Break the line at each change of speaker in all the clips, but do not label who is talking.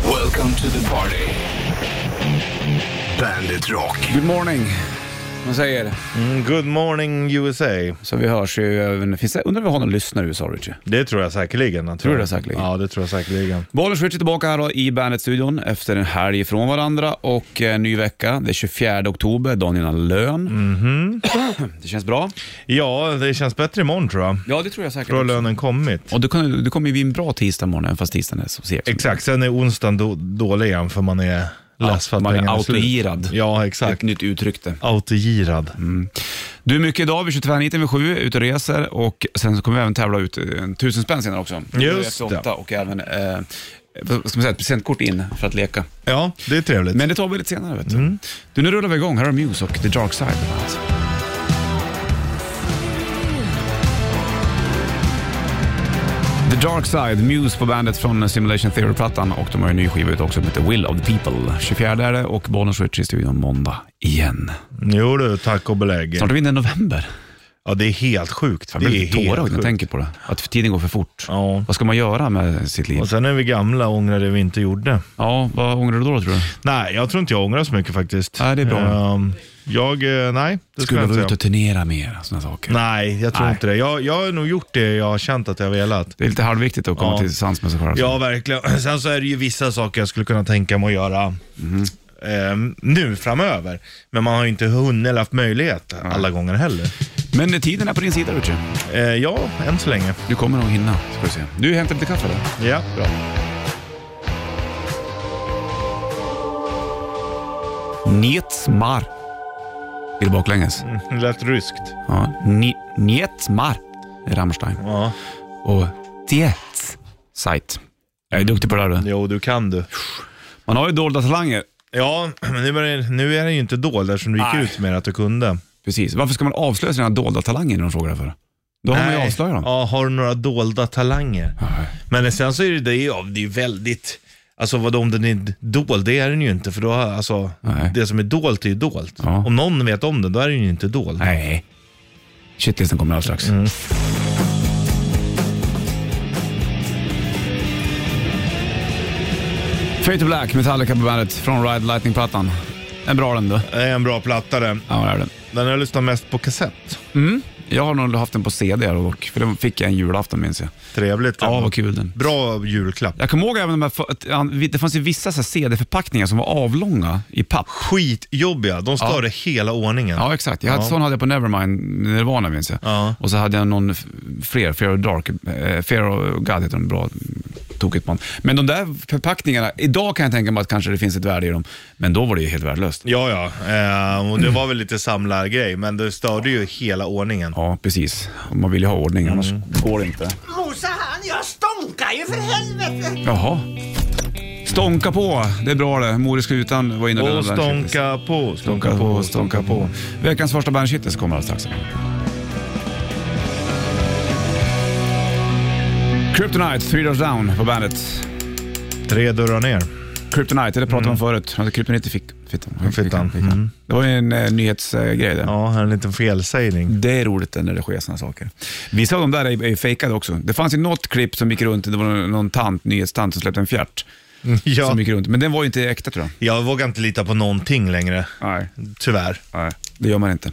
Welcome to the party. Bandit Rock.
Good morning. Man säger.
Mm, good morning USA.
Så vi hörs ju även... Finns det, undrar om vi har någon lyssnare i USA, Richie?
Det tror jag säkerligen. Tror,
du det säkerligen?
Ja, det tror jag säkerligen.
Bollens Richie tillbaka här då i Bandet-studion efter en helg ifrån varandra och eh, ny vecka. Det är 24 oktober, dagen innan lön. Mhm. det känns bra.
Ja, det känns bättre imorgon tror jag.
Ja, det tror jag säkert.
Då har lönen kommit.
Och det, kan, det kommer ju bli en bra tisdag morgon, även fast tisdagen är så seg. som
Exakt, sen är onsdagen då, dålig igen för man är less för att
man är
pengarna slut.
autogirad. Mm.
Ja,
Ett
exakt.
nytt uttryck det.
Autogirad.
Du, mycket idag. Vi kör tvärniten vid sju, ute och reser och sen så kommer vi även tävla ut en tusen spänn senare också. Nu är det.
Just
efter åtta
det.
Och även, eh, vad ska man säga, ett presentkort in för att leka.
Ja, det är trevligt.
Men det tar vi lite senare. Vet du.
Mm.
du, nu rullar vi igång. Här har Muse och The Dark Side. på bandet. The Dark Side, Muse på bandet från Simulation Theory-plattan och de har ju en ny skiva ute också som heter Will of the People. 24 är det och Bollnäs Rich i studion måndag igen.
Jo du, tack och belägg.
Snart är vi inne i november.
Ja, det är helt sjukt.
Jag
Det
blir
är
lite tårögd
helt
när jag
sjukt.
tänker på det. Att tiden går för fort.
Ja.
Vad ska man göra med sitt liv?
Och sen är vi gamla och ångrar det vi inte gjorde.
Ja, vad ångrar du då tror du?
Nej, jag tror inte jag ångrar så mycket faktiskt.
Nej, det är bra.
Ehm, jag, eh, nej, det skulle
Skulle
jag
du
inte
ut
säga.
och turnera mer? Sådana saker.
Nej, jag tror
Nej. Alltså.
inte det. Jag, jag har nog gjort det jag har känt att jag har velat.
Det är lite halvviktigt att komma
Ja.
till sans med sig själv.
Ja, verkligen. Sen så är det ju vissa saker jag skulle kunna tänka mig att göra
Mhm.
eh, nu framöver. Men man har ju inte hunnit eller haft möjlighet alla gånger heller.
Men tiden är på din sida, Richard.
Eh, ja, än så länge.
Du kommer nog hinna, ska du se. Du hämtar lite kaffe där.
Ja.
Bra. Nietsmar. Är det baklänges?
Det lät ryskt.
Ja. Ni, nietsmar. Det är Rammstein.
Ja.
Och Tietz. Sight. Jag är duktig på det där du.
Jo, du kan du.
Man har ju dolda talanger.
Ja, men nu är, nu är den ju inte dold eftersom du gick
Nej.
ut med att du kunde.
Precis. Varför ska man avslöja sina dolda talanger när de frågar för? Då har man ju
Nej.
avslöjat dem.
Ja, har du några dolda talanger? Men sen så är det det ju, ja, det är ju väldigt, alltså vadå om den är dold, det är den ju inte. För då, har- alltså,
Nej.
det som är dolt är ju dolt.
Ja.
Om någon vet om den, då är den ju inte dold.
Nej. Shitlisten kommer alldeles strax. Fade to Black, Metallica på bandet från Ride Lightning-plattan. En bra den du.
Det är en bra platta det.
Ja, det är den.
Den har jag lyssnat mest på kassett.
Jag har nog haft den på CD dock, för den fick jag en julafton minns jag.
Trevligt.
Ja,
ändå.
vad kul den.
Bra julklapp.
Jag kommer ihåg även de här, för- att, ja, det fanns ju vissa så här CD-förpackningar som var avlånga i papp.
Skitjobbiga. De störde hela ordningen.
Ja, exakt. Jag hade,
Ja.
Sån hade jag på Nevermind, Nirvana minns jag.
Ja.
Och så hade jag någon f- fler, Fear of Dark, eh, Fear of God heter den, bra tokigt man. Men de där förpackningarna, idag kan jag tänka mig att kanske det finns ett värde i dem, men då var det ju helt värdelöst.
Ja, ja. Eh, och det var väl lite samlargrej, men det störde ju hela ordningen.
Ja, precis. Och Man vill ju ha ordning, annars
Mm.
går det inte.
Mosa han, jag stånkar ju för helvete!
Jaha. Stånka på, det är bra det. Mor i skutan var inne och
Och
lönade den shitlist.
stånka på,
Stånka på, stånka på. Veckans första bandshittis kommer alldeles strax. Kryptonite, Three Doors Down på bandet.
Tre dörrar ner.
Kryptonite, det pratade man förut. Han hade kryptonit i fick, fittan.
Fittan,
Fickan.
mm.
Det var ju en eh, nyhetsgrej det.
Ja, här är en liten felsägning.
Det är roligt när det sker sådana saker. Vissa av de där är, är fejkade också. Det fanns ju något klipp som gick runt, det var någon, någon tant, nyhetstant som släppte en fjärt.
Ja,
Som gick runt. Men den var ju inte äkta tror jag.
jag vågar inte lita på någonting längre,
Nej.
tyvärr.
Nej, det gör man inte.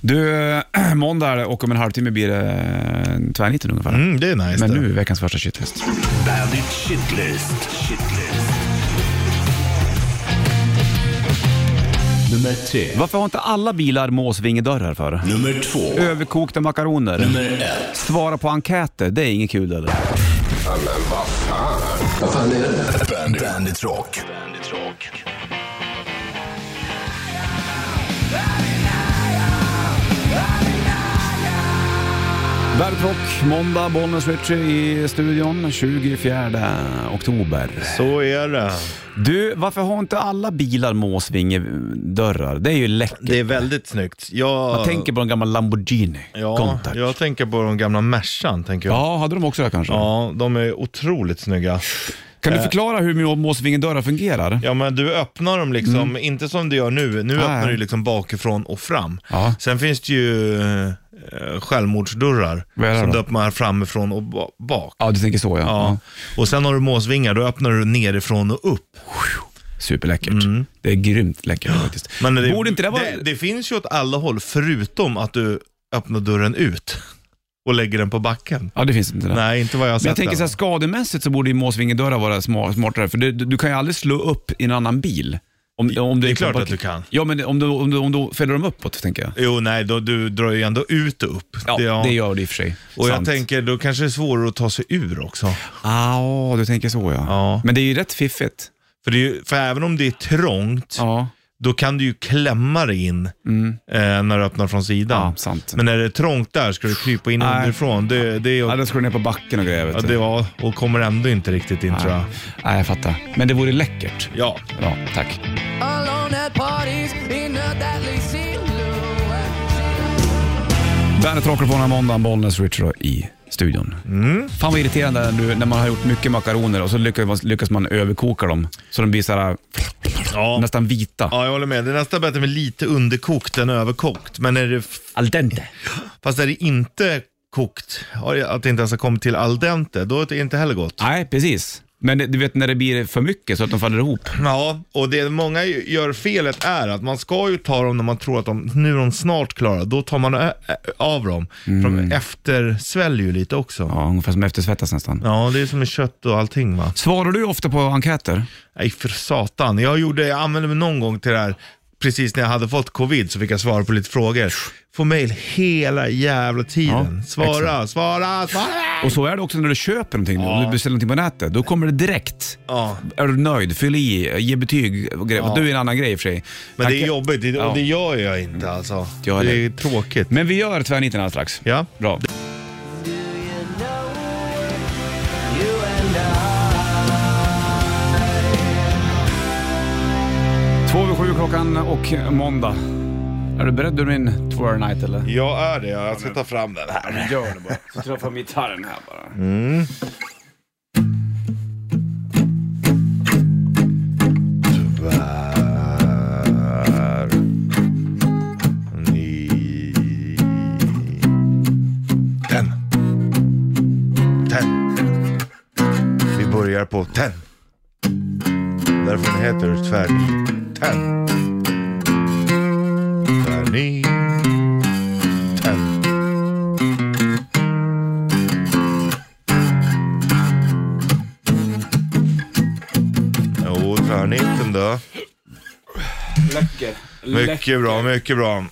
Du, måndag är det och om en halvtimme blir det en tvärniten ungefär.
Mm, det är nice
Men
det.
nu är veckans första shitlist.
Bandit Shitlist. Shitlist. Nummer tre.
Varför har inte alla bilar måsvingedörrar för?
Nummer två.
Överkokta makaroner.
Nummer ett.
Svara på enkäter, det är inget kul eller?
Bandit, Bandit Rock. Bandit Rock.
Bandet Rock, måndag, Bollnäs Ritchie i studion, 24 oktober.
Så är det.
Du, varför har inte alla bilar måsvingedörrar? Det är ju läckert.
Det är väldigt snyggt. Jag,
Jag tänker på en gammal Lamborghini
ja,
Countach.
jag tänker på de gamla Mercan, tänker jag.
Ja, hade de också det kanske?
Ja, Eh. de är otroligt snygga.
Kan du förklara hur må- måsvingedörrar fungerar?
Ja men du öppnar dem liksom,
Mm.
inte som du gör nu. Nu
Nej.
öppnar du liksom bakifrån och fram.
Ja.
Sen finns det ju eh, självmordsdörrar
Vad är det
som
då?
du öppnar framifrån och ba- bak.
Ja, du tänker så ja.
Ja. Och sen har du måsvingar, då öppnar du nerifrån och upp.
Superläckert. Det är grymt läckert faktiskt.
Mm. Men det,
Borde inte det vara...
det, det finns ju åt alla håll, förutom att du öppnar dörren ut och lägger den på backen.
Ja, det finns inte det.
Nej, inte vad jag har sett.
Men jag tänker
än.
så här, skademässigt så borde ju Måsvingedörrar vara smart, smartare, för du, du, du kan ju aldrig slå upp i en annan bil. Om, om
Det är
på
klart
park-
att du kan.
Ja, men om du, om du, om du fäller dem uppåt, tänker jag.
Jo, nej, då, du drar ju ändå ut och upp.
Ja,
Det-
det gör det i och för sig.
Och jag
Sant.
tänker, då kanske det är svårare att ta sig ur också.
Ah, du tänker så ja.
Ja.
Men det är ju rätt fiffigt.
För, det är, ju- för även om det är trångt,
Ja, Mm.
då kan du ju klämma dig in eh, när du öppnar från sidan.
Ja, sant.
Men när det är trångt där ska du krypa in
Nej.
underifrån. Det, det, är,
ja
ja,
då ska du ner på backen och grejer. Vet du.
det var, och kommer ändå inte riktigt in tror jag.
Nej. Nej, jag fattar. Men det vore läckert.
Ja.
Ja, tack.
Alone at parties in a deadly silhouette.
Bandet rockar på den här måndagen, Bollnäs Richard i studion. Fan vad irriterande när, du, när man har gjort mycket makaroner och så lyckas man, lyckas man överkoka dem så de blir så här,
Ja.
nästan vita.
ja, jag håller med. Det är nästan bättre med lite underkokt än överkokt. Men är det,
Al dente.
fast är det inte kokt, ja, att det inte ens har kommit till al dente, då är det inte heller gott.
Nej, precis. Men det, du vet när det blir för mycket så att de faller ihop.
Ja, och det många ju- gör felet är att man ska ju ta dem när man tror att de, nu är de snart klara. Då tar man ä- ä- av dem. För de eftersväljer ju lite också. Mm. Ja.
Ja, ungefär som eftersvettas nästan.
det är som med kött och allting va.
Svarar du ofta på enkäter?
Nej, för satan. Jag, gjorde, jag använde mig någon gång till det här, precis när jag hade fått covid så fick jag svara på lite frågor. Får mail hela jävla tiden.
Ja,
svara, svara, svara!
Och så är det också när du köper någonting. Om du beställer någonting på nätet, då kommer det direkt.
Ja.
Är du nöjd? Fyll i, ge betyg och grejer. Du är en annan grej i och för sig.
Men det
Tack.
är jobbigt det-
Ja.
och det gör jag inte alltså.
Jag
det
heller.
är tråkigt.
Men vi gör tvärniten alldeles strax.
Ja.
Bra. Två över sju klockan och måndag. Är du beredd du min Twirl Night eller?
Jag är det, jag ska ta fram den här.
Gör det bara. Så tar jag fram gitarren här bara.
Mm. Tyvärr. Ni... Ten. Ten. Vi börjar på ten. Därför den heter det tvär... Ten. Tvärni... Ten. Jo, tvärniten då.
Läcker.
Mycket bra, mycket bra.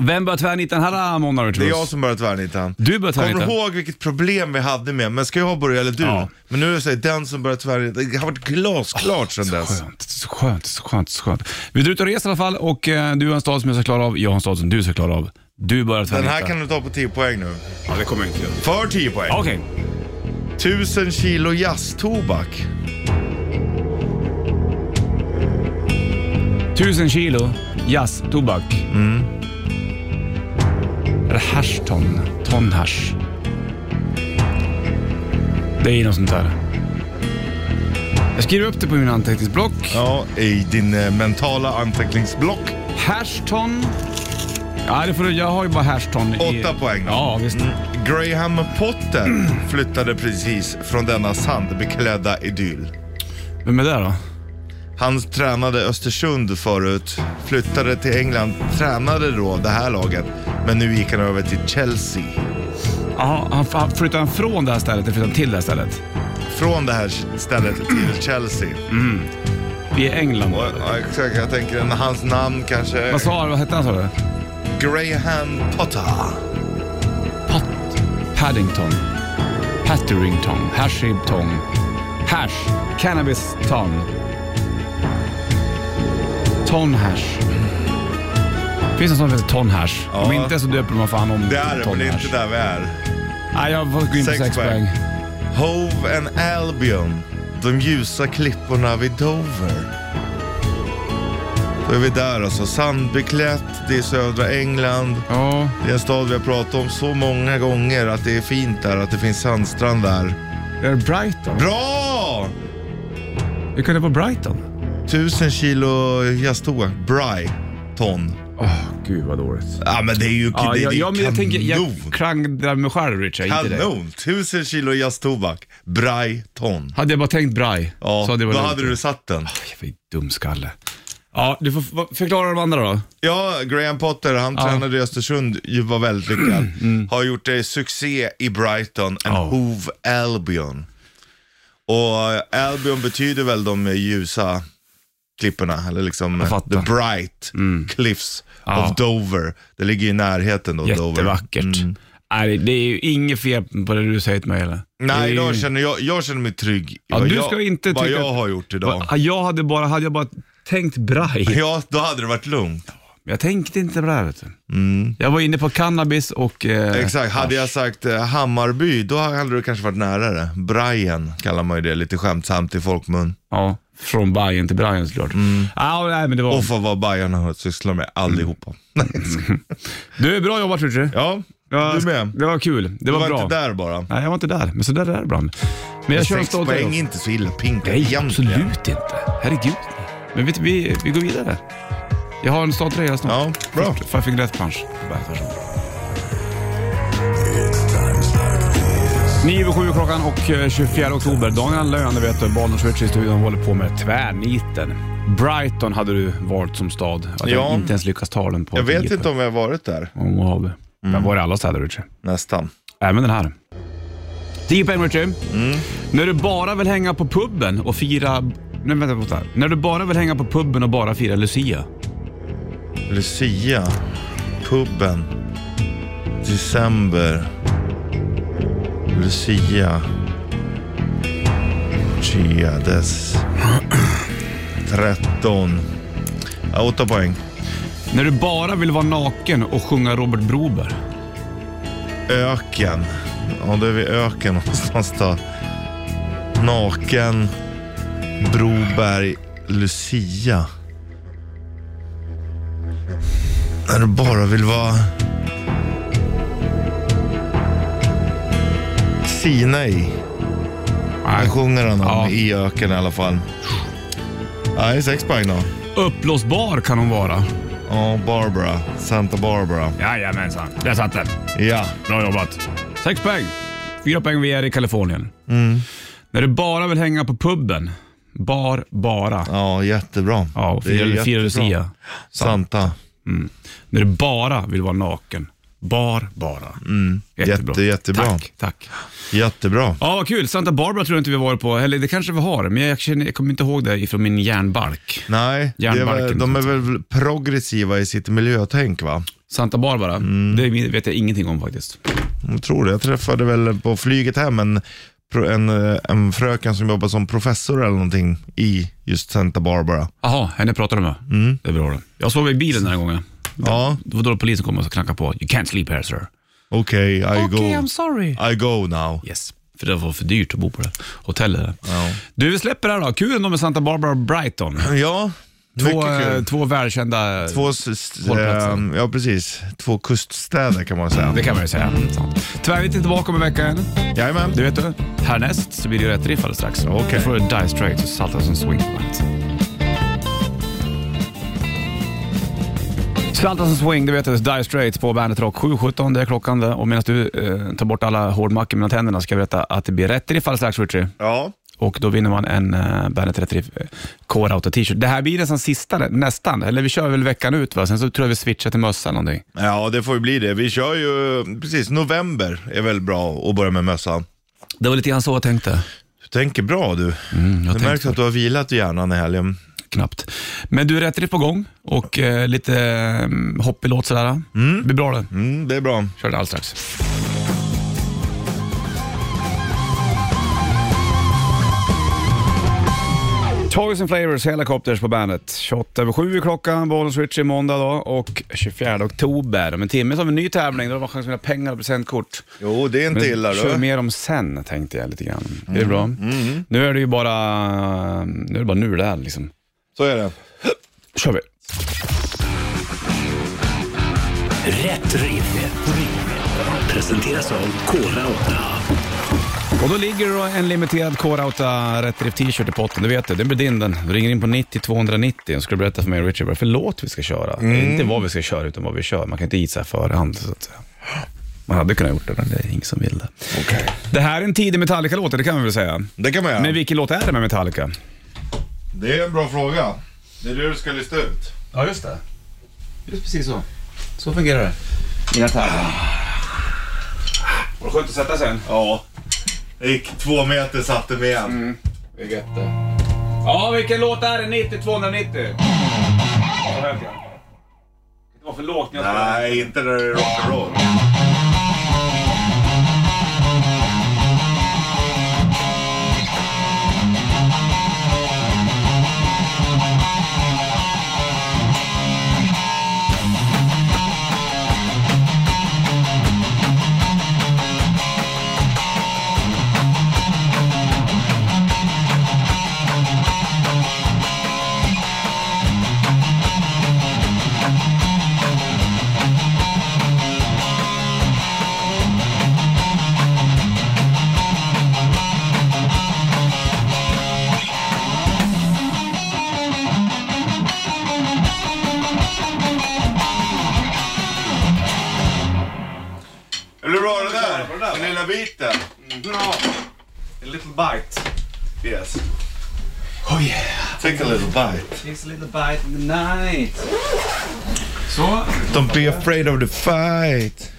Vem börjar tvärniten den här måndagen
Det
tror
är jag som börjar tvärnita.
Du börjar
Kommer du
tvärnita.
ihåg vilket problem vi hade med, men ska jag börja eller du?
Ja.
Men nu är det så här, den som börjar tvärnita, det har varit glasklart sedan dess.
Skönt, så skönt, så skönt, så skönt. Vi är ute och reser i alla fall och eh, du har en stad som jag ska klara av, jag har en stad som du ska klara av. Du börjar
Den
tvärnita.
här kan du ta på 10 poäng nu.
Ja, det kommer jag inte göra.
För 10 poäng.
Okej.
1000 kilo jazztobak.
Tusen kilo jazz, tobak. Mm. Är det hashton? Ton hash? Det är något sånt där. Jag skriver upp det på min anteckningsblock.
Ja, i din eh, mentala anteckningsblock.
Hashton. Ja, det får du, jag har ju bara hashton. i-
Åtta poäng.
Ja, visst.
Graham Potter
Mm.
flyttade precis från denna sandbeklädda idyll.
Vem är det då?
Han tränade Östersund förut, flyttade till England, tränade då det här laget, men nu gick han över till Chelsea.
Jaha, han, han flyttade han från det här stället eller flyttade han till det här stället?
Från det här stället till Chelsea.
I England?
Och, Mm. ja, exakt, jag tänker att hans namn kanske...
Vad sa han? Vad hette han sa du?
Graham Potter.
Pat... Paddington. Patterington. Hashibton. Hash. Cannabis ton. Ton hash. Finns det en sån som heter ton hash?
Ja.
Om inte så döper man fan om
Det är det,
ton
men det är
hash.
inte där vi är.
Nej, jag får gå in på
Sex
sex
poäng.
poäng.
Hove and Albion. De ljusa klipporna vid Dover. Då är vi där alltså. Sandbeklätt, det är södra England.
Ja.
Det är en stad vi har pratat om så många gånger att det är fint där, att det finns sandstrand där.
Är det Brighton?
Bra!
Hur kan det vara Brighton?
Tusen kilo jazztoa. Brighton.
Ja, Åh, gud vad dåligt.
Ja men det är ju
Ja,
det,
jag,
det är
ja, men jag tänker, jag
kanon.
kranglar mig själv Richard, inte dig.
Kanon! Tusen kilo jazztobak. Braj ton.
Hade jag bara tänkt braj,
Ja,
så hade det
då
varit
hade
lugnt.
du satt den.
Jävla dumskalle. Ja, du får f- förklara de andra då.
Ja, Graham Potter, han tränade i Östersund, ju var väldigt lyckad. Har gjort eh, succé i Brighton
Mm.
and
Ja.
Hove Albion. Och eh, Albion betyder väl de eh, ljusa klipporna, eller liksom eh,
fattar. Mm.
the bright cliffs
Ja.
of Dover. Det ligger i närheten då, Dover.
Jättevackert.
Mm.
Nej, det är ju inget fel på det du säger till mig heller. Det är
Nej,
ju-
jag känner, jag, jag känner mig trygg i
Ehm. Ja,
vad,
du
jag,
ska inte
vad
tycka
jag
att-
har gjort idag.
Va- Jag hade bara, hade jag bara tänkt braj.
Ja, då hade det varit lugnt.
Jag tänkte inte på det här vet du.
Mm.
Jag var inne på cannabis och... Eh,
Exakt, hade jag sagt eh, Hammarby, då hade du kanske varit nära det. Brian kallar man ju det lite skämtsamt i folkmun.
Ja, från Bajen till Brian såklart. Mm. Ah, nej, men det var...
Och för vad Bajarna har sysslat med allihopa.
Du, bra jobbat Richard.
Ja,
Mm. Ja,
du med.
Det var kul. Det
Du
var,
var
bra.
inte där bara.
Nej, jag var inte där. Men så där är det ibland. Men jag kör en
Sex
stolt
poäng är
Nej,
inte så illa pinkat egentligen.
absolut inte. Herregud. Men vet du, vi, vi går vidare. Jag har en stolt tröja snart.
Ja, bra.
Först- Five Finger Death Punch. Varsågod. Nio över sju klockan och eh, 24 oktober. Daniel Lööne vet du, Bollnäs i studion håller på med tvärniten. Brighton hade du valt som stad. Att jag
Ja.
inte ens lyckas ta den på
Jag vet
tio
inte om jag har varit där.
om Mojave. Men var det alla städer Richie?
Nästan.
Även den här. 10 poäng Richie. När du bara vill hänga på puben och fira... Nej, vänta, vänta. När du bara vill hänga på puben och bara fira Lucia.
Lucia, puben, december, Lucia, Chiades, 13, ja, 8 poäng.
När du bara vill vara naken och sjunga Robert Broberg.
Öken, ja då är vi i öken någonstans då. Naken, Broberg, Lucia. När du bara vill vara... Sinai.
Nej.
Där sjunger han om
Ja.
i öken i alla fall. Nej, sex poäng då.
Uppblåsbar kan hon vara.
Ja, Barbara. Santa Barbara.
Jajamensan, där satt den.
Ja.
Bra jobbat. Sex poäng. Fyra poäng vi är i Kalifornien. När du bara vill hänga på puben. Bar, bara.
Ja, jättebra.
Ja, och
Det är
fira, fira
jättebra.
Lucia.
Santa.
När du bara vill vara naken. Bar, bara. Jättebra.
Mm. Jätte- jättebra.
Tack, tack.
Jättebra.
Ja, vad kul. Santa Barbara tror jag inte vi har varit på. Eller det kanske vi har, men jag, känner, jag kommer inte ihåg det ifrån min hjärnbalk.
Nej, det är väl,
Järnbarken.
de är väl progressiva i sitt miljötänk va?
Santa Barbara,
Mm.
det vet jag ingenting om faktiskt.
Jag tror det. Jag träffade väl på flyget hem en, pro- en, eh, en fröken som jobbar som professor eller någonting i just Santa Barbara.
Jaha, henne pratar du med?
Mm.
Det är bra det. Jag sov i bilen den här gången.
Ja,
Det var då polisen kom och knackade på. You can't sleep here sir.
okej, I go.
sorry.
I go now.
Ah, Yes. För det var för dyrt att bo på det hotellet. Du, vi släpper det här då. Kul ändå med Santa Barbara och Brighton.
Ja,
Två,
mycket
eh,
kul.
två välkända...
Två, s- s-
hållplatser.
ehm, ja, precis. Två kuststäder kan man säga.
Det kan man ju säga. Mm, Tyvärr inte tillbaka om en vecka än.
Jajamän.
Du vet du, härnäst så blir det ju rätt riff alldeles strax.
Okej.
Du får Die Straits och Salta som Swing på bandet. Salta som Swing, det vet du, Die Straits på Bandet Rock. 7.17, det är klockan det. Och medan du eh, tar bort alla hårdmackor mellan tänderna ska jag berätta att det blir rätt riff alldeles strax, Richie.
Ja,
Och då vinner man en eh, Bandet Rätt Riff eh, Core Auto T-shirt. Det här blir nästan sista, nästan. Eller vi kör väl veckan ut va? Sen så tror jag vi switchar till mössa eller någonting.
ja, det får ju bli det. Vi kör ju, precis, november är väl bra att börja med mössan.
Det var lite grann så jag tänkte.
Du tänker bra du.
Mm, jag
Det
tänkte
märks att du har vilat i hjärnan i helgen.
knappt. Men du, rätt riff på gång och eh, lite eh, hoppig låt sådär. Det blir bra det.
Mm, det är bra.
Kör det alldeles strax. Toys and Flavors, Helicopters på bandet. 28 över 7 är klockan, Bollens Richie måndag då och 24 oktober. Om en timme så har vi en ny tävling, då har man chans att vinna pengar och presentkort.
Jo, det är inte illa
Men kör
du.
mer om sen tänkte jag lite grann. Det är bra. Nu är det ju bara nu, är det bara nu det är liksom.
Så är det.
kör vi.
Rätt riff. Presenteras av Kora 8.
Och då ligger det då en limiterad K-Rauta Rätt Drift t-shirt i potten, du vet det. Den blir din den. Ring in på 90 290 och ska du berätta för mig och Richard vad det är för låt vi ska köra. Det är inte vad vi ska köra utan vad vi kör. Man kan inte gissa i förhand så att säga. Man hade kunnat gjort det, men det är ingen som vill det.
Okej.
Det här är en tidig Metallica-låt, det kan vi väl säga.
Det kan man göra.
Men vilken låt är det med Metallica?
Det är en bra fråga. Det är det du ska lista ut.
Ja, just det. Just precis så. Så fungerar det. Mina tarmar. Var det skönt att sätta sig än?
Ja. Mm. Jag gick två meter, satte mig igen.
Det är gött det. Ja, vilken låt är det? 90 290. Så högt, ja. Det var för lågt när jag spelade.
Nej, inte när det är rock'n'roll. Är det bra det där? Mm. Den lilla biten?
A little bite.
Yes.
Oh yeah.
Take a little bite.
It's a little bite in the night. Så.
Don't be afraid of the fight.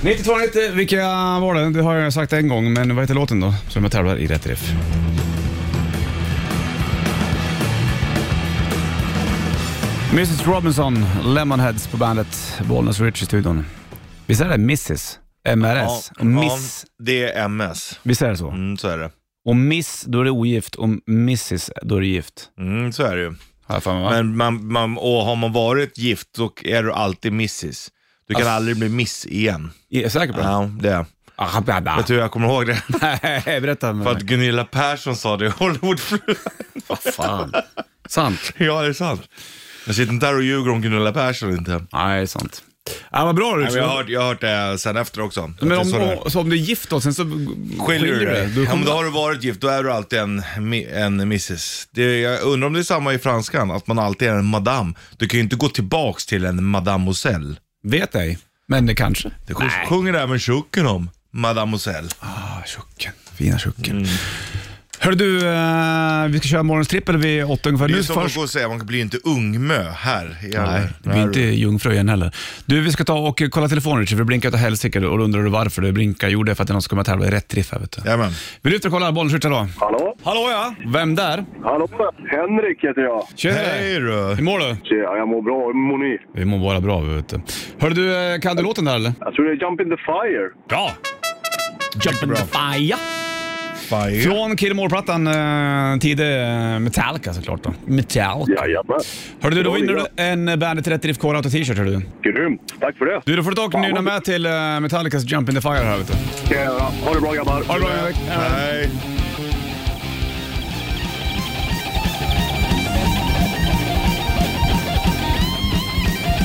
9290, vilka var det? Det har jag sagt en gång, men vad heter låten då? Som jag tävlar i rätt riff. Mrs Robinson, Lemonheads på bandet, Bollnäs Rich i studion. Visst är det Mrs? MRS? och miss?
Ja, det är MS.
Visst är det så?
Mm, så är det.
Och miss, då är det ogift. Och mrs, då är det gift.
Mm, så är det ju.
Har jag för mig, va?
Men man, man, och har man varit gift så är du alltid missis. Du kan
Ass-
aldrig bli miss igen.
Är jag säker på det?
Ja, det är
Ah, bla, bla.
Vet du hur jag kommer ihåg det? typ-
Nej, berätta.
För
För
att Gunilla Persson sa det i Hollywoodfruar.
Vad fan. Sant.
ja, det är sant. Jag sitter inte där och ljuger om Gunilla Persson inte.
Nej, sant. Ja, vad bra du.
Nej, men jag, har hört, jag har hört det sen efter också. Att
Men
det är
om,
så det är.
om, så om du är gift då, sen så
Skiljer du dig?
Du
Ja, men
kommer
då har du varit gift, då är du alltid en, mi- en missis. Det, jag undrar om det är samma i franskan, att man alltid är en madame. Du kan ju inte gå tillbaks till en mademoiselle.
Vet ej, men det kanske.
Det sj- sjunger även Tjocken om, mademoiselle.
Ah, tjocken. Fina tjocken.
Mm.
Hörru du, eh, vi ska köra morgonens trippel vid åtta ungefär.
Det är ju
Nu
som
först.
först... att säga, man blir ju inte ungmö här. i alla-
Nej, det blir inte jungfröjen heller. Du, vi ska ta och eh, kolla telefonen Richard, för det blinkar åt helsike och då undrar du varför det blinkar. Jo, det är för att det är någon som kommer att tävla i rätt triff här vet du.
Jajamän.
Vi lyfter och kollar, bollen skjuter då.
Hallå?
Hallå ja! Vem där?
Hallå? Henrik heter jag.
Tjena!
Hej du.
Hur mår du?
Tjena, jag mår bra. Hur mår ni?
Vi mår bara bra vi, vet du. Hörru du, eh, kan du låten där eller?
Jag tror det är Jump in the Fire.
Bra! Jump in the fire!
Fire.
Från Killemore-plattan, eh, tidig eh, Metallica såklart då. Metallica.
Jajamän.
Hörru du, då
Bra
vinner du
lirat.
en Bandet 30 IFK Rauta t-shirt hörru du.
Grymt. Tack för det.
Du, då får du ta och
Fan, vad
nynna
bra.
med till eh, Metallicas Jump in the fire här vet du.
ska jag göra. Ha det bra grabbar.
Ha det bra Erik.
Nej.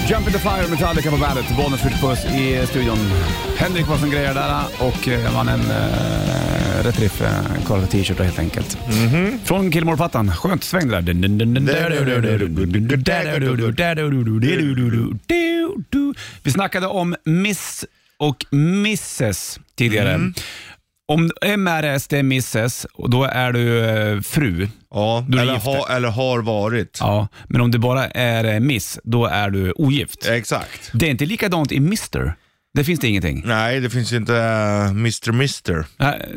Jump in the fire, Metallica på bandet. Bonus Puss i studion. Henrik var som grejer där och eh, vann en uh, rätt riff, eh, Karl för t-shirt då, helt enkelt. Från Killemore-plattan. Skönt sväng det där. Vi snackade om Miss och Mrs tidigare. Om MRS, det är Mrs, och då är du eh, fru.
Ja,
Du är
eller,
gift.
ha, eller har varit.
Ja, men om det bara är eh, Miss, då är du ogift.
Exakt.
Det är inte likadant i Mr. Det finns det ingenting.
Nej, det finns ju inte äh, Mr. Mister.
Nej.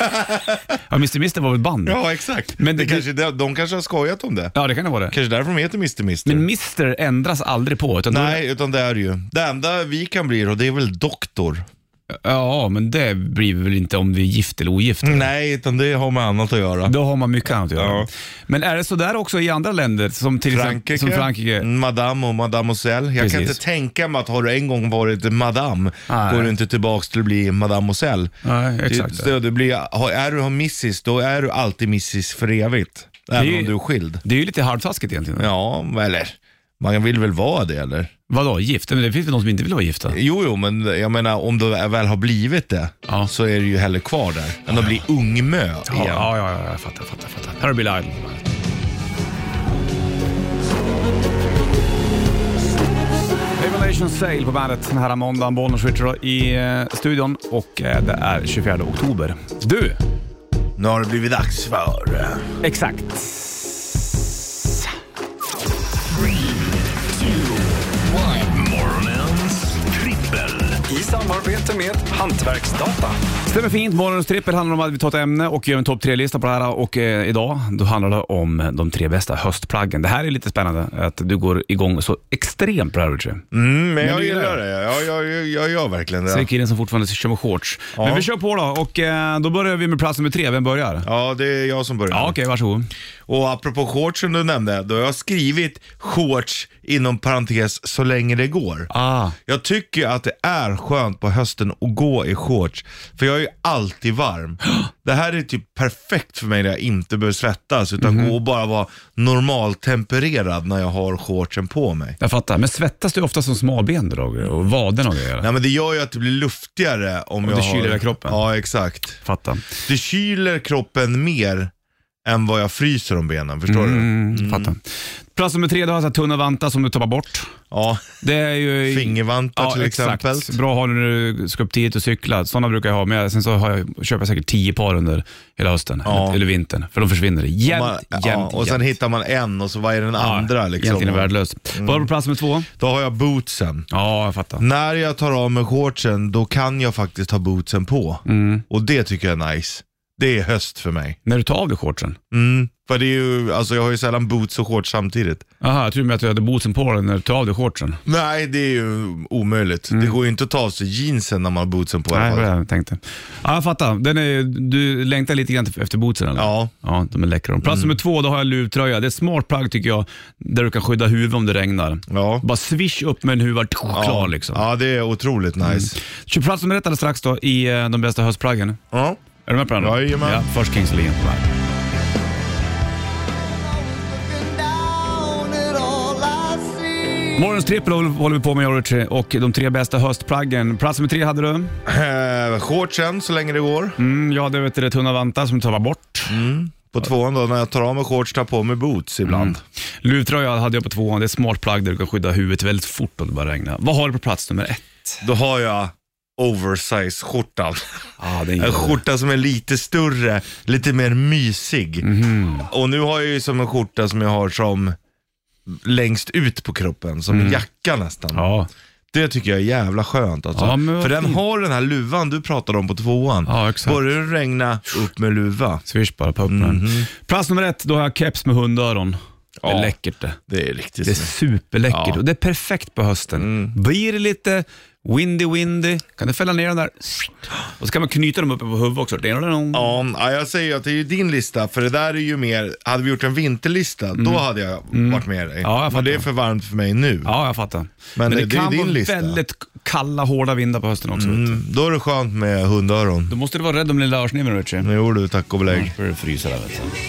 Äh, ja, Mr. Mr var väl ett band?
Mm. Ja, exakt.
Men
Men
det-
det, kanske, de, de kanske har skojat om det.
Ja, det kan det vara det.
Kanske därför de heter Mr. Mister.
Men Mr ändras aldrig på. Utan då-
Nej, utan det är det ju. Det enda vi kan bli då, det är väl doktor.
Ja, men det blir vi väl inte om vi är gift eller ogift.
Nej, utan det har med annat att göra.
Då har man mycket annat att göra.
Mm. Ja.
Men är det sådär också i andra länder? Som till
Frankrike, Mm.
Exempel, som Frankrike?
madame och mademoiselle. Jag kan
Precis.
inte tänka mig att har du en gång varit madame,
Nej.
går du inte tillbaks till att bli mademoiselle.
Nej, exakt.
Det, det blir, har- är du har missis, då är du alltid missis för evigt. Även
Det är-
om du är skild.
Det är ju lite halvtaskigt egentligen.
Ja, eller Man vill väl vara det eller?
Vadå, gift? Men det finns väl de som inte vill vara gifta?
Jo, jo, men jag menar om du väl har blivit det
Ja.
så är du ju hellre kvar där än att bli ungmö igen.
Ja, ja, ja, ja jag fattar, fattar, fattar. Här har Bill Idol. Revelation Sale på bandet den här måndagen. Bollnäs Ritcher i eh, studion och eh, det är 24 oktober. Du!
Nu har det blivit dags för...
Exakt.
Morgonens trippel.
I samarbete med Hantverksdata.
Stämmer fint. Morgonens trippel handlar om att vi tar ett ämne och gör en topp tre-lista på det här. Och eh, idag, då handlar det om de tre bästa höstplaggen. Det här är lite spännande, att du går igång så extremt på det här Richard.
Mm, men jag
du gillar
gillar det. Ja, jag, jag, jag gör verkligen
Sen är
det.
killen som fortfarande kör med shorts.
Ja.
Men vi kör på då och eh, då börjar vi med plats nummer tre. Vem börjar?
Ja, det är jag som börjar.
Ja, okej, varsågod.
Och apropå shortsen du nämnde, då har jag skrivit shorts inom parentes så länge det går.
Ah.
Jag tycker ju att det är skönt på hösten att gå i shorts, för jag är ju alltid varm. Det här är typ perfekt för mig när jag inte behöver svettas, utan
Mhm.
gå och bara vara normaltempererad när jag har shortsen på mig.
Jag fattar. Men svettas du ofta som smalben då, Roger? Och vaden och grejer?
Nej men det gör ju att det blir luftigare om jag
det
har...
kyler kroppen.
Ja, exakt.
Fattar.
Det kyler kroppen mer än vad jag fryser om benen, förstår du?
Mm, Fattar. Plats nummer tre, du har så här tunna vantar som du tappar bort.
Ja,
Det är ju...
fingervantar
Ja,
till
exakt.
exempel.
Bra att ha när du ska upp tidigt och cykla. Sådana brukar jag ha med. Sen så har jag, köper jag säkert tio par under hela hösten,
Ja.
eller, eller vintern. För de försvinner jämt,
Man,
jämt,
ja, och sen
jämt.
hittar man en och så vad är den andra
ja, Egentligen är
liksom?
värdelöst. Vad har du på plats nummer två?
Då har jag bootsen.
Mm. Ja, jag fattar.
När jag tar av mig shortsen, då kan jag faktiskt ha bootsen på.
Mm.
Och det tycker jag är nice. Det är höst för mig.
När du tar av dig shortsen?
Mm. För det är ju, alltså jag har ju sällan boots och shorts samtidigt.
Jaha, jag trodde med att du hade bootsen på dig när du tar av dig shortsen.
Nej, det är ju omöjligt. Det går ju inte att ta av sig jeansen när man har bootsen på. i alla
Mm. Nej, det
fall.
var det jag tänkte. Ja, jag fattar. Den är, du längtar lite grann efter bootsen eller?
Ja. Mm.
Ja, de är läckra. de. Plats nummer två, då har jag luvtröja. Det är ett smart plagg tycker jag, där du kan skydda huvudet om det regnar.
Ja.
Bara swish upp med en huva, klar
ja.
liksom. Mm.
Ja, det är otroligt nice.
Kör plats nummer ett alldeles strax då, i eh, de bästa höstplaggen.
Ja.
Är du med på den? då?
Jajamän.
Ja, först Kings Lean på bandet. Morgons trippel håller vi på med, George, och de tre bästa höstplaggen. Plats nummer tre hade du.
Eh, shortsen så länge det går.
Mm, jag hade vet du, det tunna vantar som du tar bort.
På tvåan då, när jag tar av mig shorts, tar på mig boots ibland.
Luvtröja hade jag på tvåan. Det är ett smart plagg där du kan skydda huvudet väldigt fort om det börjar regna. Vad har du på plats nummer ett?
Då har jag oversize-skjortan.
Ah, det är
En skjorta som är lite större, lite mer mysig.
Mhm.
Och nu har jag ju som en skjorta som jag har som längst ut på kroppen, som en jacka nästan.
Mm. Ja.
Det tycker jag är jävla skönt alltså.
Ja, men vad
För den
fint.
har den här luvan du pratade om på tvåan.
Ja, exakt.
Börjar det regna, upp med luva.
Swish bara på öppnaren. Plats nummer ett, då har jag keps med hundöron. Det är
Mhm. Ja.
läckert det.
Det är riktigt
Det är
snyggt.
superläckert
Ja. Mm.
och det är perfekt på hösten. Blir det lite windy windy, kan du fälla ner den där och så kan man knyta dem uppe på huvudet också. Ja.
Ja, ja, jag säger ju att det är ju din lista, för det där är ju mer, hade vi gjort en vinterlista, då hade jag varit med dig.
Mm. Ja, jag
Men det är
fattar.
för varmt för mig nu.
ja, jag fattar. Men,
det-
det,
det är
kan
din
vara
lista.
väldigt kalla, hårda vindar på hösten också. vet du.
Mm, då är det skönt med hundöron.
Då måste du vara rädd om lilla örsniven, Richie.
Nu gjorde du tack och belägg.
Annars börjar du frysa där. Vet du.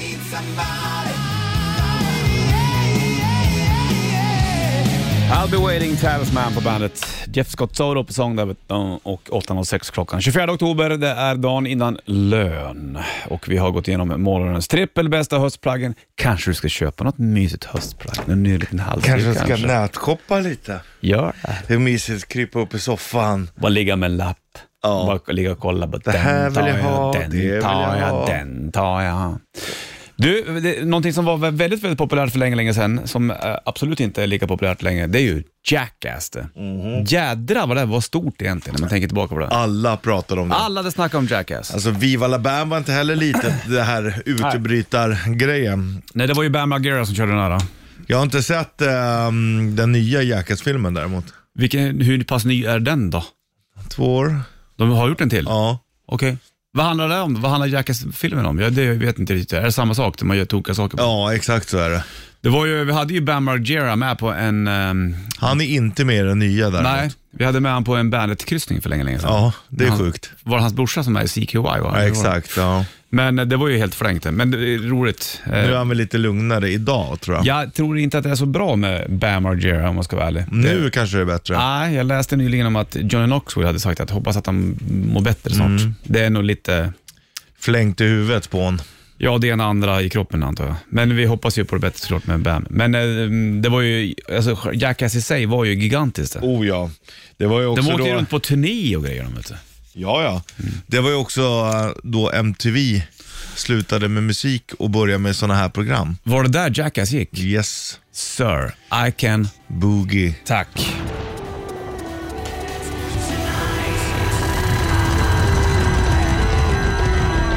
I'll be waiting, Talisman på bandet. Jeff Scott Soto på sång där vet du, och 8.06 klockan. 24 oktober, det är dagen innan lön. Och vi har gått igenom morgonens trippel bästa höstplaggen. Kanske du ska köpa något mysigt höstplagg? En ny liten halsduk
Kanske
kanske?
ska nätshoppa lite.
Gör det.
Det är mysigt att krypa upp i soffan.
Bara ligga med en lapp.
Ja.
Bara ligga och kolla. Bara, den
här vill
tar
jag ha,
Den
det vill
tar
jag
jag,
ha.
den tar jag. Du, det, någonting som var väldigt, väldigt populärt för länge, länge sedan, som eh, absolut inte är lika populärt längre, det är ju Jackass. det.
Mhm.
Jädrar vad det här var stort egentligen, när man tänker tillbaka på det.
Alla pratar om det.
Alla hade snackat om Jackass.
Alltså Viva la Bam var inte heller litet, det här utebrytargrejen.
Nej, det var ju Bam Margera som körde den här. Då.
Jag har inte sett ehm, den nya Jackass-filmen däremot.
Vilken, hur pass ny är den då?
Två år?
De har gjort en till?
Ja.
Okej. Vad handlar det om? Vad handlar Jackass-filmen om? Jag, det, jag vet inte riktigt. Är det samma sak, där man gör tokiga saker?
Ja, exakt så är det.
Det var ju, vi hade ju Bam Margera med på en... ehm,
Han är inte med i den nya däremot.
nej, Vi hade med han på en Bandet-kryssning för länge, länge sedan.
Ja, det är
han,
sjukt.
Var det hans brorsa som är i CKY? va?
Ja, exakt. Ja.
Men eh, det var ju helt flängt det. Men det är roligt. Eh,
Nu är han väl lite lugnare idag tror jag.
Jag tror inte att det är så bra med Bam Margera om man ska vara ärlig.
Nu kanske det är bättre.
Nej, jag läste nyligen om att Johnny Knoxville hade sagt att hoppas att han mår bättre snart.
Mm.
Det är nog lite,
Flängt i huvudet på hon.
ja det ena och andra i kroppen antar jag. Men vi hoppas ju på det bättre såklart med Bam. Men eh, det var ju, alltså Jackass i sig var ju gigantiskt. det.
Oh ja. Det var ju också
De åker
då...
ju runt på turné och grejer de vet du.
Ja, ja. Det var ju också eh, då MTV slutade med musik och började med sådana här program.
Var det där Jackass gick?
Yes,
Sir, I can,
boogie.
tack.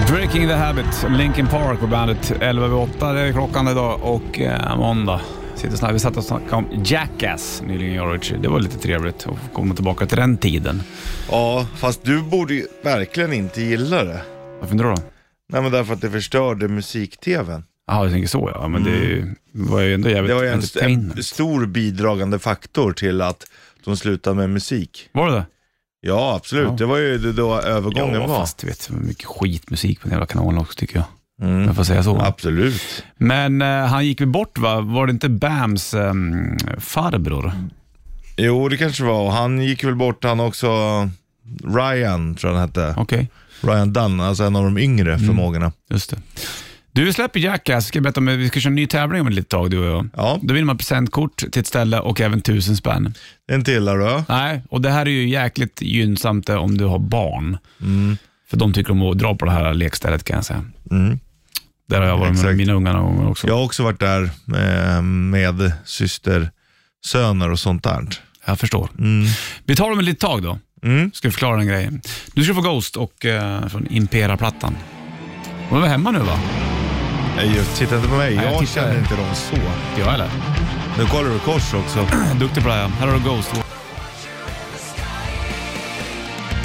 Breaking the Habit, Linkin Park på bandet. 11 över 8 det är klockan idag och eh, måndag. Sitter snabb. Vi satt och snackade om Jackass nyligen jag och Richie. Det var lite trevligt att komma tillbaka till den tiden.
Ja, fast du borde ju verkligen inte gilla det.
Varför undrar du då?
Nej men därför att det förstörde musik-tvn.
Jaha, du tänker så ja. Men det är ju- Mm. var ju ändå jävligt
Det var ju en,
entertainment.
en stor bidragande faktor till att de slutade med musik.
Var det det?
Ja, absolut. Det var ju det då övergången
ja,
var.
fast du vet, det var mycket skitmusik på den jävla kanalen också tycker jag. Mm. Jag får säga så.
Absolut.
Men eh, han gick väl bort va? Var det inte Bams eh, farbror?
Jo, det kanske var. Och Han gick väl bort han också. Ryan tror jag han hette.
Okej,
Ryan Dunn, alltså en av de yngre
Mm.
förmågorna.
just det. Du vi släpper Jackass, ska jag berätta om, vi ska köra en ny tävling om ett litet tag du och jag.
Ja.
Då vinner man presentkort till ett ställe och även tusen spänn.
En till här då.
Nej, och det här är ju jäkligt gynnsamt eh, om du har barn.
Mm.
För de tycker om att dra på det här lekstället kan jag säga. Där har jag varit med
Mm. Exakt.
mina ungar någon gång också.
Jag har också varit där eh, med syster, söner och sånt där.
Jag förstår. Vi tar dem ett litet tag då. Ska vi förklara en grej. Nu ska du få Ghost och eh, från Impera-plattan. Och de är hemma nu va?
Nej, just, Titta inte på mig,
Nej, jag
jag
tittar.
känner inte dem så.
Inte jag heller.
Nu kollar du kors också.
Duktig på det här. Här har du Ghost.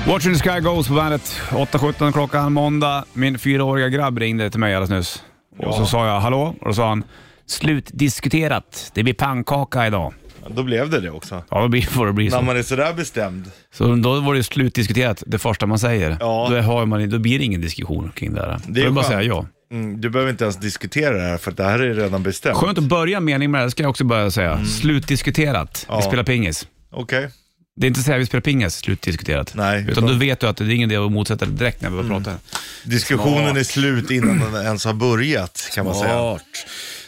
Watching the Sky Goes på bandet. 8.17 klockan måndag. Min fyraåriga grabb ringde till mig alldeles nyss. Och så sa jag hallå och då sa han slutdiskuterat. Det blir pannkaka idag.
Då blev det det också.
Ja, då blir- får det bli så.
När man är sådär bestämd.
Så då var det slutdiskuterat, det första man säger.
Ja.
Då, har man, då blir det ingen diskussion kring det här. Det
är
är bara att
skönt.
säga ja.
Mm, du behöver inte ens diskutera det här för att det här är redan bestämt.
Skönt att börja meningen med det här, ska jag också börja säga. Slutdiskuterat,
Mm. Ja.
vi spelar pingis.
Okej.
Det är inte så här vi spelar pingis, slutdiskuterat.
Nej, Mm.
Utan
utan-
då vet du att det är ingen idé att motsätta dig direkt när vi börjar prata.
Diskussionen är slut innan den ens har börjat kan man säga.
Smart.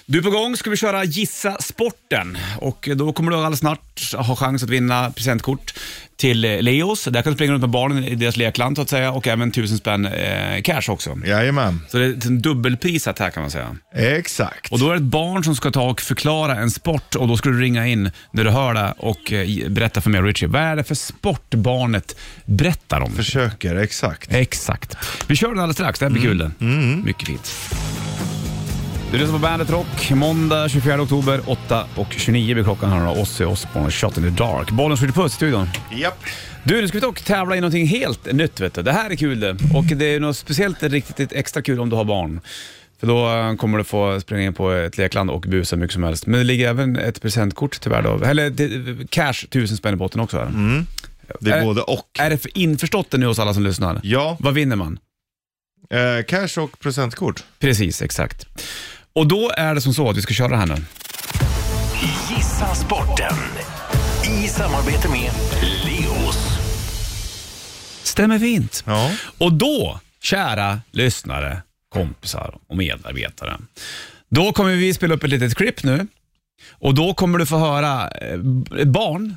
Du är på gång ska vi köra Gissa Sporten och då kommer du alldeles snart ha chans att vinna presentkort till eh, Leos. Där kan du springa runt med barnen i deras lekland så att säga och även tusen spänn eh, cash också.
Jajamän,
Så det är en dubbelprisat här kan man säga.
exakt.
Och då är det ett barn som ska ta och förklara en sport och då ska du ringa in när du hör det och eh, ge- berätta för mig och Richie. Vad är det för sport barnet berättar om?
Försöker, exakt.
Exakt. Vi kör den alldeles strax, det här blir kul den. Mycket fint. Du lyssnar på Bandet Rock. Måndag 24 oktober 8.29 blir klockan. Här har Ozzy Osbourne, Shot in the Dark. Bollen skjuter puss i studion.
Japp.
Du, nu ska vi ta och tävla i någonting helt nytt vet du. Det här är kul det. Och det är något speciellt riktigt extra kul om du har barn. För då eh, kommer du få springa in på ett lekland och busa mycket som helst. Men det ligger även ett presentkort tyvärr då. Eller det- cash, tusen spänn i botten också. Här.
Det är
Är-
både och.
Är det för införstått det nu hos alla som lyssnar?
Ja,
Vad vinner man?
eh, cash och presentkort.
Precis, exakt. Och då är det som så att vi ska köra det här nu.
Gissa sporten. I samarbete med Leos.
Stämmer fint.
Ja.
Och då, kära lyssnare, kompisar och medarbetare, då kommer vi spela upp ett litet klipp nu och då kommer du få höra eh, b- barn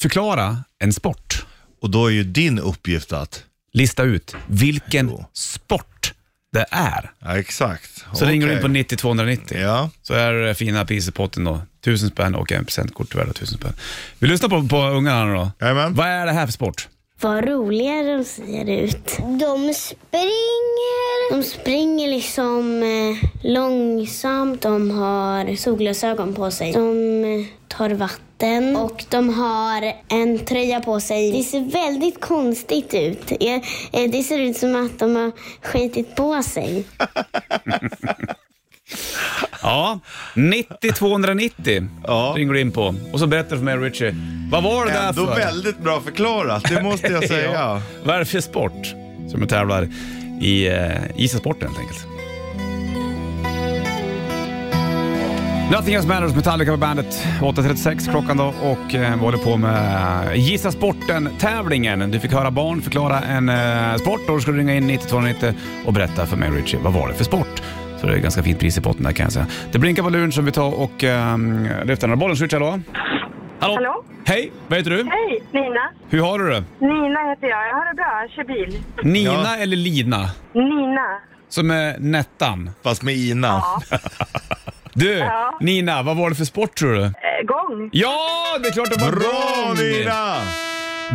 förklara en sport.
Och då är ju din uppgift att...
Lista ut vilken
Jo.
sport det är.
Ja, exakt.
Så ringer du in på 90-290
Ja.
så är det fina priser på potten då. Tusen spänn och en presentkort värda tusen spänn. Vi lyssnar på, på ungarna då.
Jajamän.
Vad är det här för sport?
Vad roliga de ser ut. De springer. De springer liksom eh, långsamt. De har solglasögon på sig. De eh, tar vatten och de har en tröja på sig. Det ser väldigt konstigt ut. Eh, eh, Det ser ut som att de har skitit på sig.
Ja, 90 290
Ja.
ringer du in på. Och så berättar du för mig och Richie Vad var det där
Ändå
för?
väldigt bra förklarat, det måste jag säga.
Vad är det för sport som tävlar i eh, ishockeysporten helt enkelt? Nothing Else Matters, Metallica på bandet. 8.36 klockan då och eh, vi håller på med Gissa Sporten-tävlingen. Du fick höra barn förklara en eh, sport och då ska du ringa in 9290 och berätta för mig Richie, vad var det för sport? Så det är ganska fint pris i potten där kan jag säga. Det blinkar på luren som vi tar och eh, lyfter den här bollen. Switch, hallå? Hallå?
Hallå?
Hej, vad heter du?
Hej, Nina.
Hur har du det?
Nina heter jag. Jag har det bra. Jag kör bil.
Nina
Ja.
eller Lina?
Nina.
Som är Nettan.
Fast med Ina.
Du,
Ja.
Nina, vad var det för sport tror du?
Eh, gång.
Ja, det är klart det var
Bra
gång!
Nina!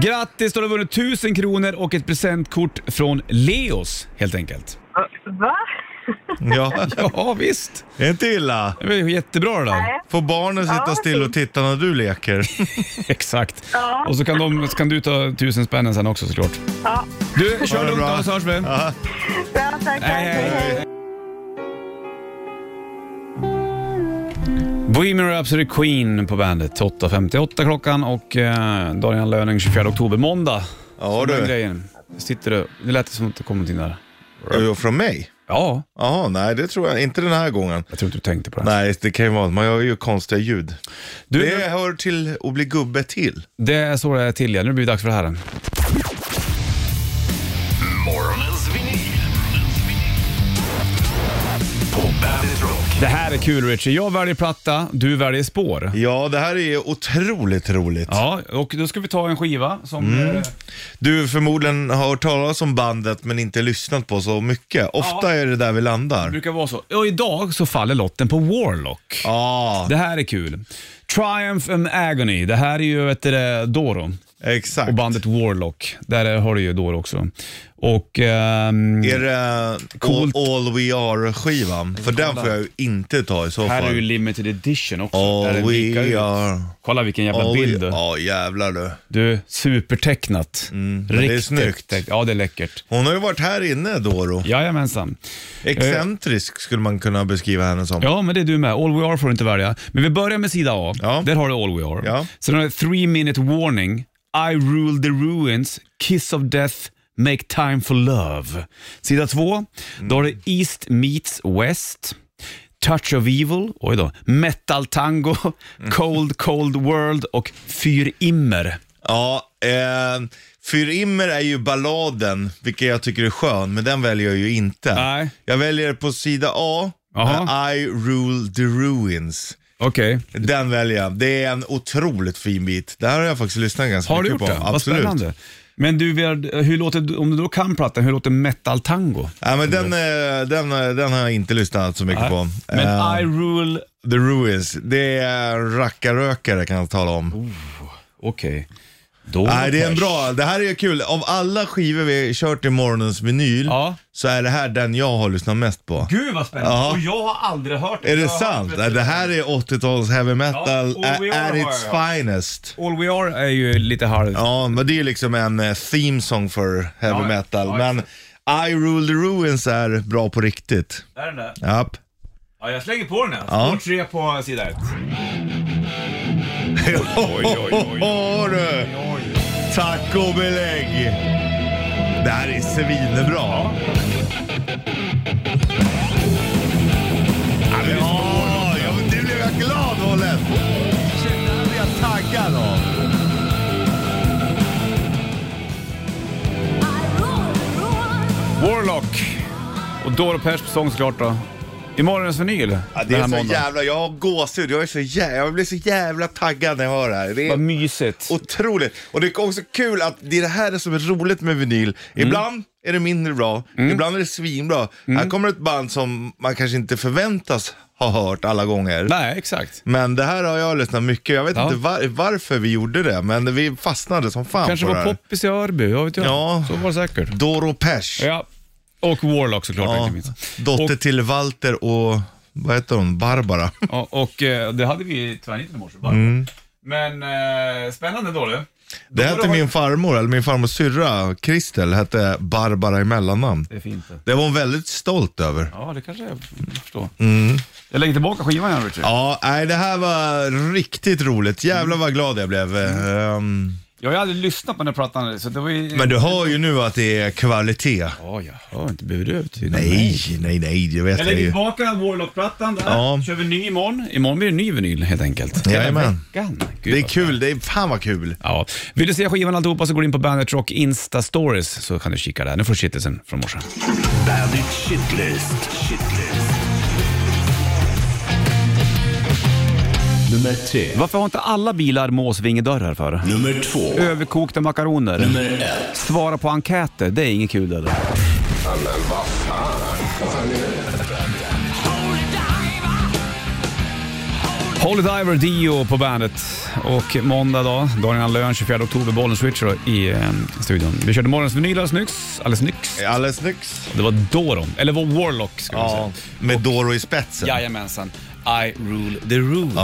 Grattis, du har vunnit 1000 kronor och ett presentkort från Leos helt enkelt.
Va?
Ja,
Ja, visst.
det är inte illa.
Det var ju jättebra det där.
Nej.
Får barnen sitta
Ja,
still och
fint.
titta när du leker?
Exakt.
Ja.
Och så kan, de, så kan du ta 1000 spännen sen också såklart.
Ja.
Du,
Ha
kör
det
lugnt
bra.
då så hörs vi.
Ja.
Bra, tack.
Hej, hej.
tack, hej.
Bohemian Rhapsody Queen på bandet. 8.58 klockan och eh, Daniel Löning 24 oktober, måndag.
Ja
Den
du.
grejen. Sitter du... Det lät som att det kom någonting där.
Jo, Från mig?
Ja,
Jaha, nej det tror jag inte den här gången.
jag tror inte du tänkte på det.
Nej, det kan ju vara man gör ju konstiga ljud.
Du,
det hör till att bli gubbe till.
Det är så det är till ja. Nu blir det dags för det här.
Morgonens vinyl. På Bandit Rock.
Det här är kul Richie. Jag väljer platta, du väljer spår.
Ja, det här är otroligt roligt.
Ja, och då ska vi ta en skiva som...
Mm.
eh,
Du förmodligen har hört talas om bandet men inte lyssnat på så mycket. Ofta är det där vi landar.
brukar vara så. Och idag så faller lotten på Warlock.
Ja,
Det här är kul. Triumph and Agony. Det här är ju vet du, det, Doro
exakt.
och bandet Warlock. Där har du ju Doro också. Och... ehm,
Är det eh,
Coolt.
All, All We Are-skivan? För den får jag ju inte ta i så
här är ju
fall.
limited edition också. där
All
den vinkar ut.
We Are.
Kolla vilken jävla
All
bild.
we, ja, jävlar du.
Du, supertecknat.
Mm. det är snyggt.
teck- Ja, det är läckert.
Hon har ju varit här inne, Doro.
Jajamensan.
Excentrisk skulle man kunna beskriva henne som.
Ja, men det är du med. All We Are får du inte välja. Men vi börjar med sida A.
Ja.
Där har du All We Are.
Ja.
Sen har du Three Minute Warning, I Rule the Ruins, Kiss of Death, Make Time for Love. Sida två, då har du East Meets West. Touch of Evil, oj då, Metal Tango,
Mm.
Cold Cold World och Fyr Immer.
Ja, eh, För Immer är ju balladen, vilken jag tycker är skön, men den väljer jag ju inte.
Nej.
Jag väljer på sida A,
Jaha.
eh, I rule the ruins.
Okej.
Den väljer jag. Det är en otroligt fin bit. Det här har jag faktiskt lyssnat ganska
Har du gjort
mycket på.
det? Vad
Absolut.
spännande. Men du, vi har- hur låter, om du då kan plattan, hur låter metal tango?
Ja, men den, eh, den, eh, den har jag inte lyssnat så mycket på.
Men
Eh,
I rule...
The Ruins, det är en rackarrökare kan jag tala om.
Oh, Okej. Då-
Nej, det är en bra. Det här är kul. Av alla skivor vi kört i morgonens vinyl
Ja.
så är det här den jag har lyssnat mest på.
Gud vad spännande!
Ja.
Och jag har aldrig hört
Är det
Jag har
sant?
hört-
Nej, Det här är 80-tals heavy metal
Ja, oh, och
at,
vi har
at
det,
its
ja.
finest.
All We Are är ju lite halv...
Ja, men det är liksom en eh, theme song för heavy
Ja,
metal.
ja,
men I Rule the Ruins är bra på riktigt.
Där är den där.
Japp.
Ja, jag slänger på den här.
Ja.
Spår tre på sida ett.
Oj, du! Tack och belägg! Det här är svinbra. Ja, men, ja, ja, men du blev jag glad, Olle! Shit, det här blir jag taggad av.
Warlock! Och Doro Pers på sång såklart då. I morgonens vinyl.
Ja, det
den
är
här
så
måndagen.
jävla, jag har gåshud. Jag, är så jävla, jag blir så jävla taggad när jag hör det här. Det är
Vad mysigt.
otroligt. Och det är också kul att det är det här som är roligt med vinyl.
Mm.
Ibland är det mindre bra, ibland är det svinbra. Här kommer ett band som man kanske inte förväntas ha hört alla gånger.
Nej, exakt.
Men det här har jag lyssnat mycket. Jag vet
Ja.
inte var, varför vi gjorde det, men vi fastnade som fan
Kanske
på det
var
här.
poppis i Örby, vad vet jag.
Ja.
Så var det säkert.
Doro Pesch.
Ja. Och Warlock såklart.
Ja,
inte minst.
Dotter
Och-
till Walter och, vad heter hon, Barbara.
Ja, och eh, det hade vi i tvärniten i morse. bara.
Mm.
Men eh, spännande då du.
Det hette min farmor, eller min farmors syrra, Kristel, hette Barbara i mellannamn.
Det är fint det.
Det var hon väldigt stolt över.
Ja, det kanske jag förstår. Jag lägger tillbaka skivan igen Richard.
Mm. Ja, nej, det här var riktigt roligt. Jävlar vad glad jag blev. Ehm,
Jag har ju aldrig lyssnat på den här plattan så det var ju...
men du hör ju nu att det är kvalitet.
Ja, jag hör inte buret.
Nej, nej, nej, jag vet
Jag
det
lägger
ju.
tillbaka Warlock-plattan där.
Ja.
Kör vi ny imorgon. Imorgon blir det ny vinyl helt enkelt.
Jajamän.
Veckan. Gud,
Det är
vad
kul, det är fan vad kul.
Ja. Vill du se skivan och alltihopa så går du in på Bandit Rock Insta Stories så kan du kika där. Nu får du shitlisten från morse.
Bandit Shitlist. Shitlist. Nummer tre.
Varför har inte alla bilar måsvingedörrar för?
Nummer två.
Överkokta makaroner.
Nummer ett.
Svara på enkäter, det är inget kul eller? Holy Diver Dio på bandet. Och måndag dag, dagen innan lön, 24 oktober, bollen switcher då i eh, studion. Vi körde morgonens vinyl alldeles nyss. Alldeles nyss.
Alldeles snyggt.
Det var Doron, eller var Warlock ska man
Ja,
säga.
med Doro i spetsen.
Jajamensan. I rule the rules.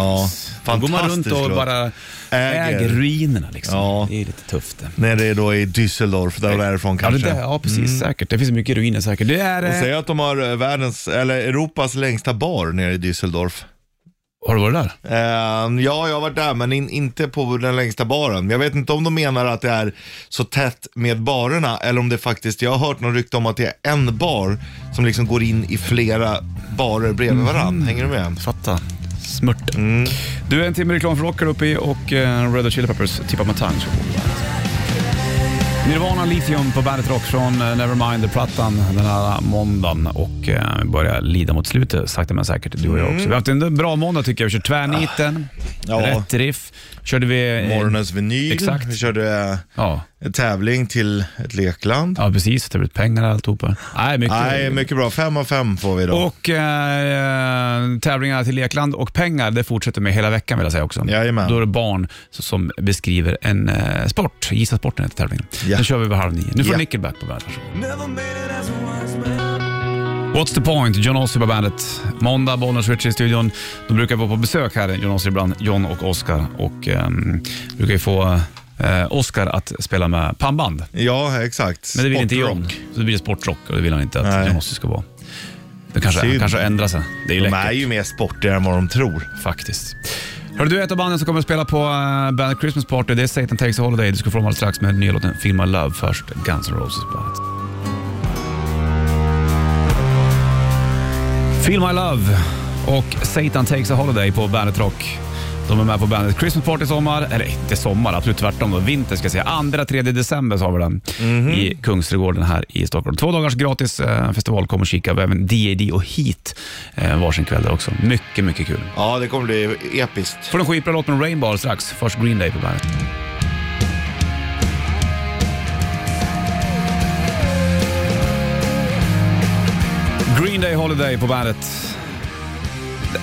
Ja,
Då går man runt
fantastisk
och
låt.
bara äger,
Äger.
ruinerna liksom.
Ja.
Det är lite tufft. Det.
När det är då i Düsseldorf, där de är ifrån
Ja, det
kanske. Mm.
där, ja precis. Säkert. Det finns mycket ruiner säkert. Det är...
Och
eh,
säga att de har eh, världens, eller Europas längsta bar nere i Düsseldorf.
Har du varit där?
Ehm, ja, jag har varit där, men in, inte på den längsta baren. Jag vet inte om de menar att det är så tätt med barerna, eller om det faktiskt, jag har hört någon rykte om att det är en bar som liksom går in i flera barer bredvid varandra. Hänger du med?
Fatta. Smört.
Mm.
Du, är en timme reklam för rockar uppe i och eh, Red Hot Chili Peppers tippar med tang. Nirvana Lithium på Bandet Rock från eh, Nevermind-plattan den här måndagen och eh, vi börjar lida mot slutet sakta men säkert, du och jag också. Vi har haft en bra måndag tycker jag. Vi körde tvärniten,
Mm. Ja.
rätt riff, körde vi... eh,
Morgonens vinyl,
Exakt.
vi körde
Ja,
eh, tävling till ett lekland.
ja precis. Det blev pengar och alltihopa. Nej, mycket.
Nej, mycket bra. Fem av fem får vi idag.
Och eh, tävlingarna till lekland och pengar, det fortsätter med hela veckan vill jag säga också.
Jajamän.
Då är det barn så- som beskriver en eh, sport. Gissa sporten heter tävlingen.
Ja.
Nu kör vi vid halv nio. Nu får
Ja.
Nickelback på bandet. Varsågod. What's the point? John Ossie på bandet. Måndag, Bollnäs Richie i studion. De brukar vara på besök här, John Ossie ibland, John och Oscar. Och ehm, brukar ju få eh, Oscar att spela med pannband.
Ja, exakt.
Men det vill inte
Sportrock.
John. Så det blir sportrock och det vill han inte att
Nej.
John Ossie ska vara. Det kanske,
Synd.
han kanske ändrar sig. Det är ju
De
läckert
är ju mer sportiga än vad de tror.
faktiskt. Hörru du, ett av banden som kommer att spela på uh, bandet Christmas Party, det är Satan Takes a Holiday. Du ska få dem alldeles strax med nya låten Feel My Love. Först Guns N' Roses på bandet. Feel My Love och Satan Takes a Holiday på Bandet Rock. De är med på bandet Christmas Party i sommar, eller inte sommar, absolut tvärtom då, vinter ska jag säga. Andra, tredje december så har vi den i Kungsträdgården här i Stockholm. Två dagars gratis eh, festival, kom och kika. Vi har även DAD och Heat eh, varsin kväll där också. Mycket, mycket kul.
Ja, det kommer bli episkt.
Får en skitbra låt med Rainbow strax. Först Green Day på bandet. Green Day Holiday på bandet.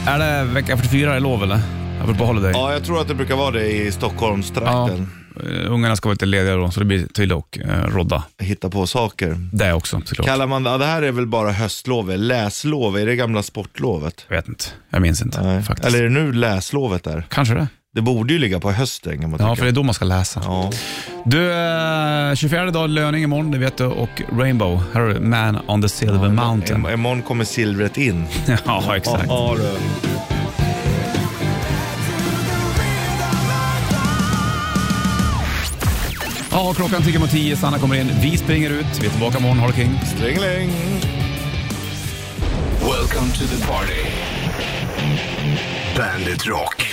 Är det vecka 44 det är lov eller? Apropå Holiday.
Ja, jag tror att det brukar vara det i Stockholmstrakten.
Eh, Ungarna ska vara lite lediga då, så det blir Tylle och eh, Rodda.
Hitta på saker.
Det också såklart.
Kallar man ja, det här är väl bara höstlovet? Läslov, är det gamla sportlovet?
Jag vet inte. Jag minns inte
Nej.
faktiskt.
Eller är det nu läslovet där?
Kanske det.
Det borde ju ligga på hösten kan man tycka.
Ja, för det är då man ska läsa.
Ja.
Du, eh, 24 dag löning imorgon, det vet du, och Rainbow. Här har du Man on the Silver Mountain.
Im- Imorgon kommer silvret in.
ja, exakt.
Ja, du.
Ja, klockan tickar mot tio, Sanna kommer in. Vi springer ut, vi är tillbaka imorgon, ha det king.
Ringeling.
Welcome to the party. Bandit Rock.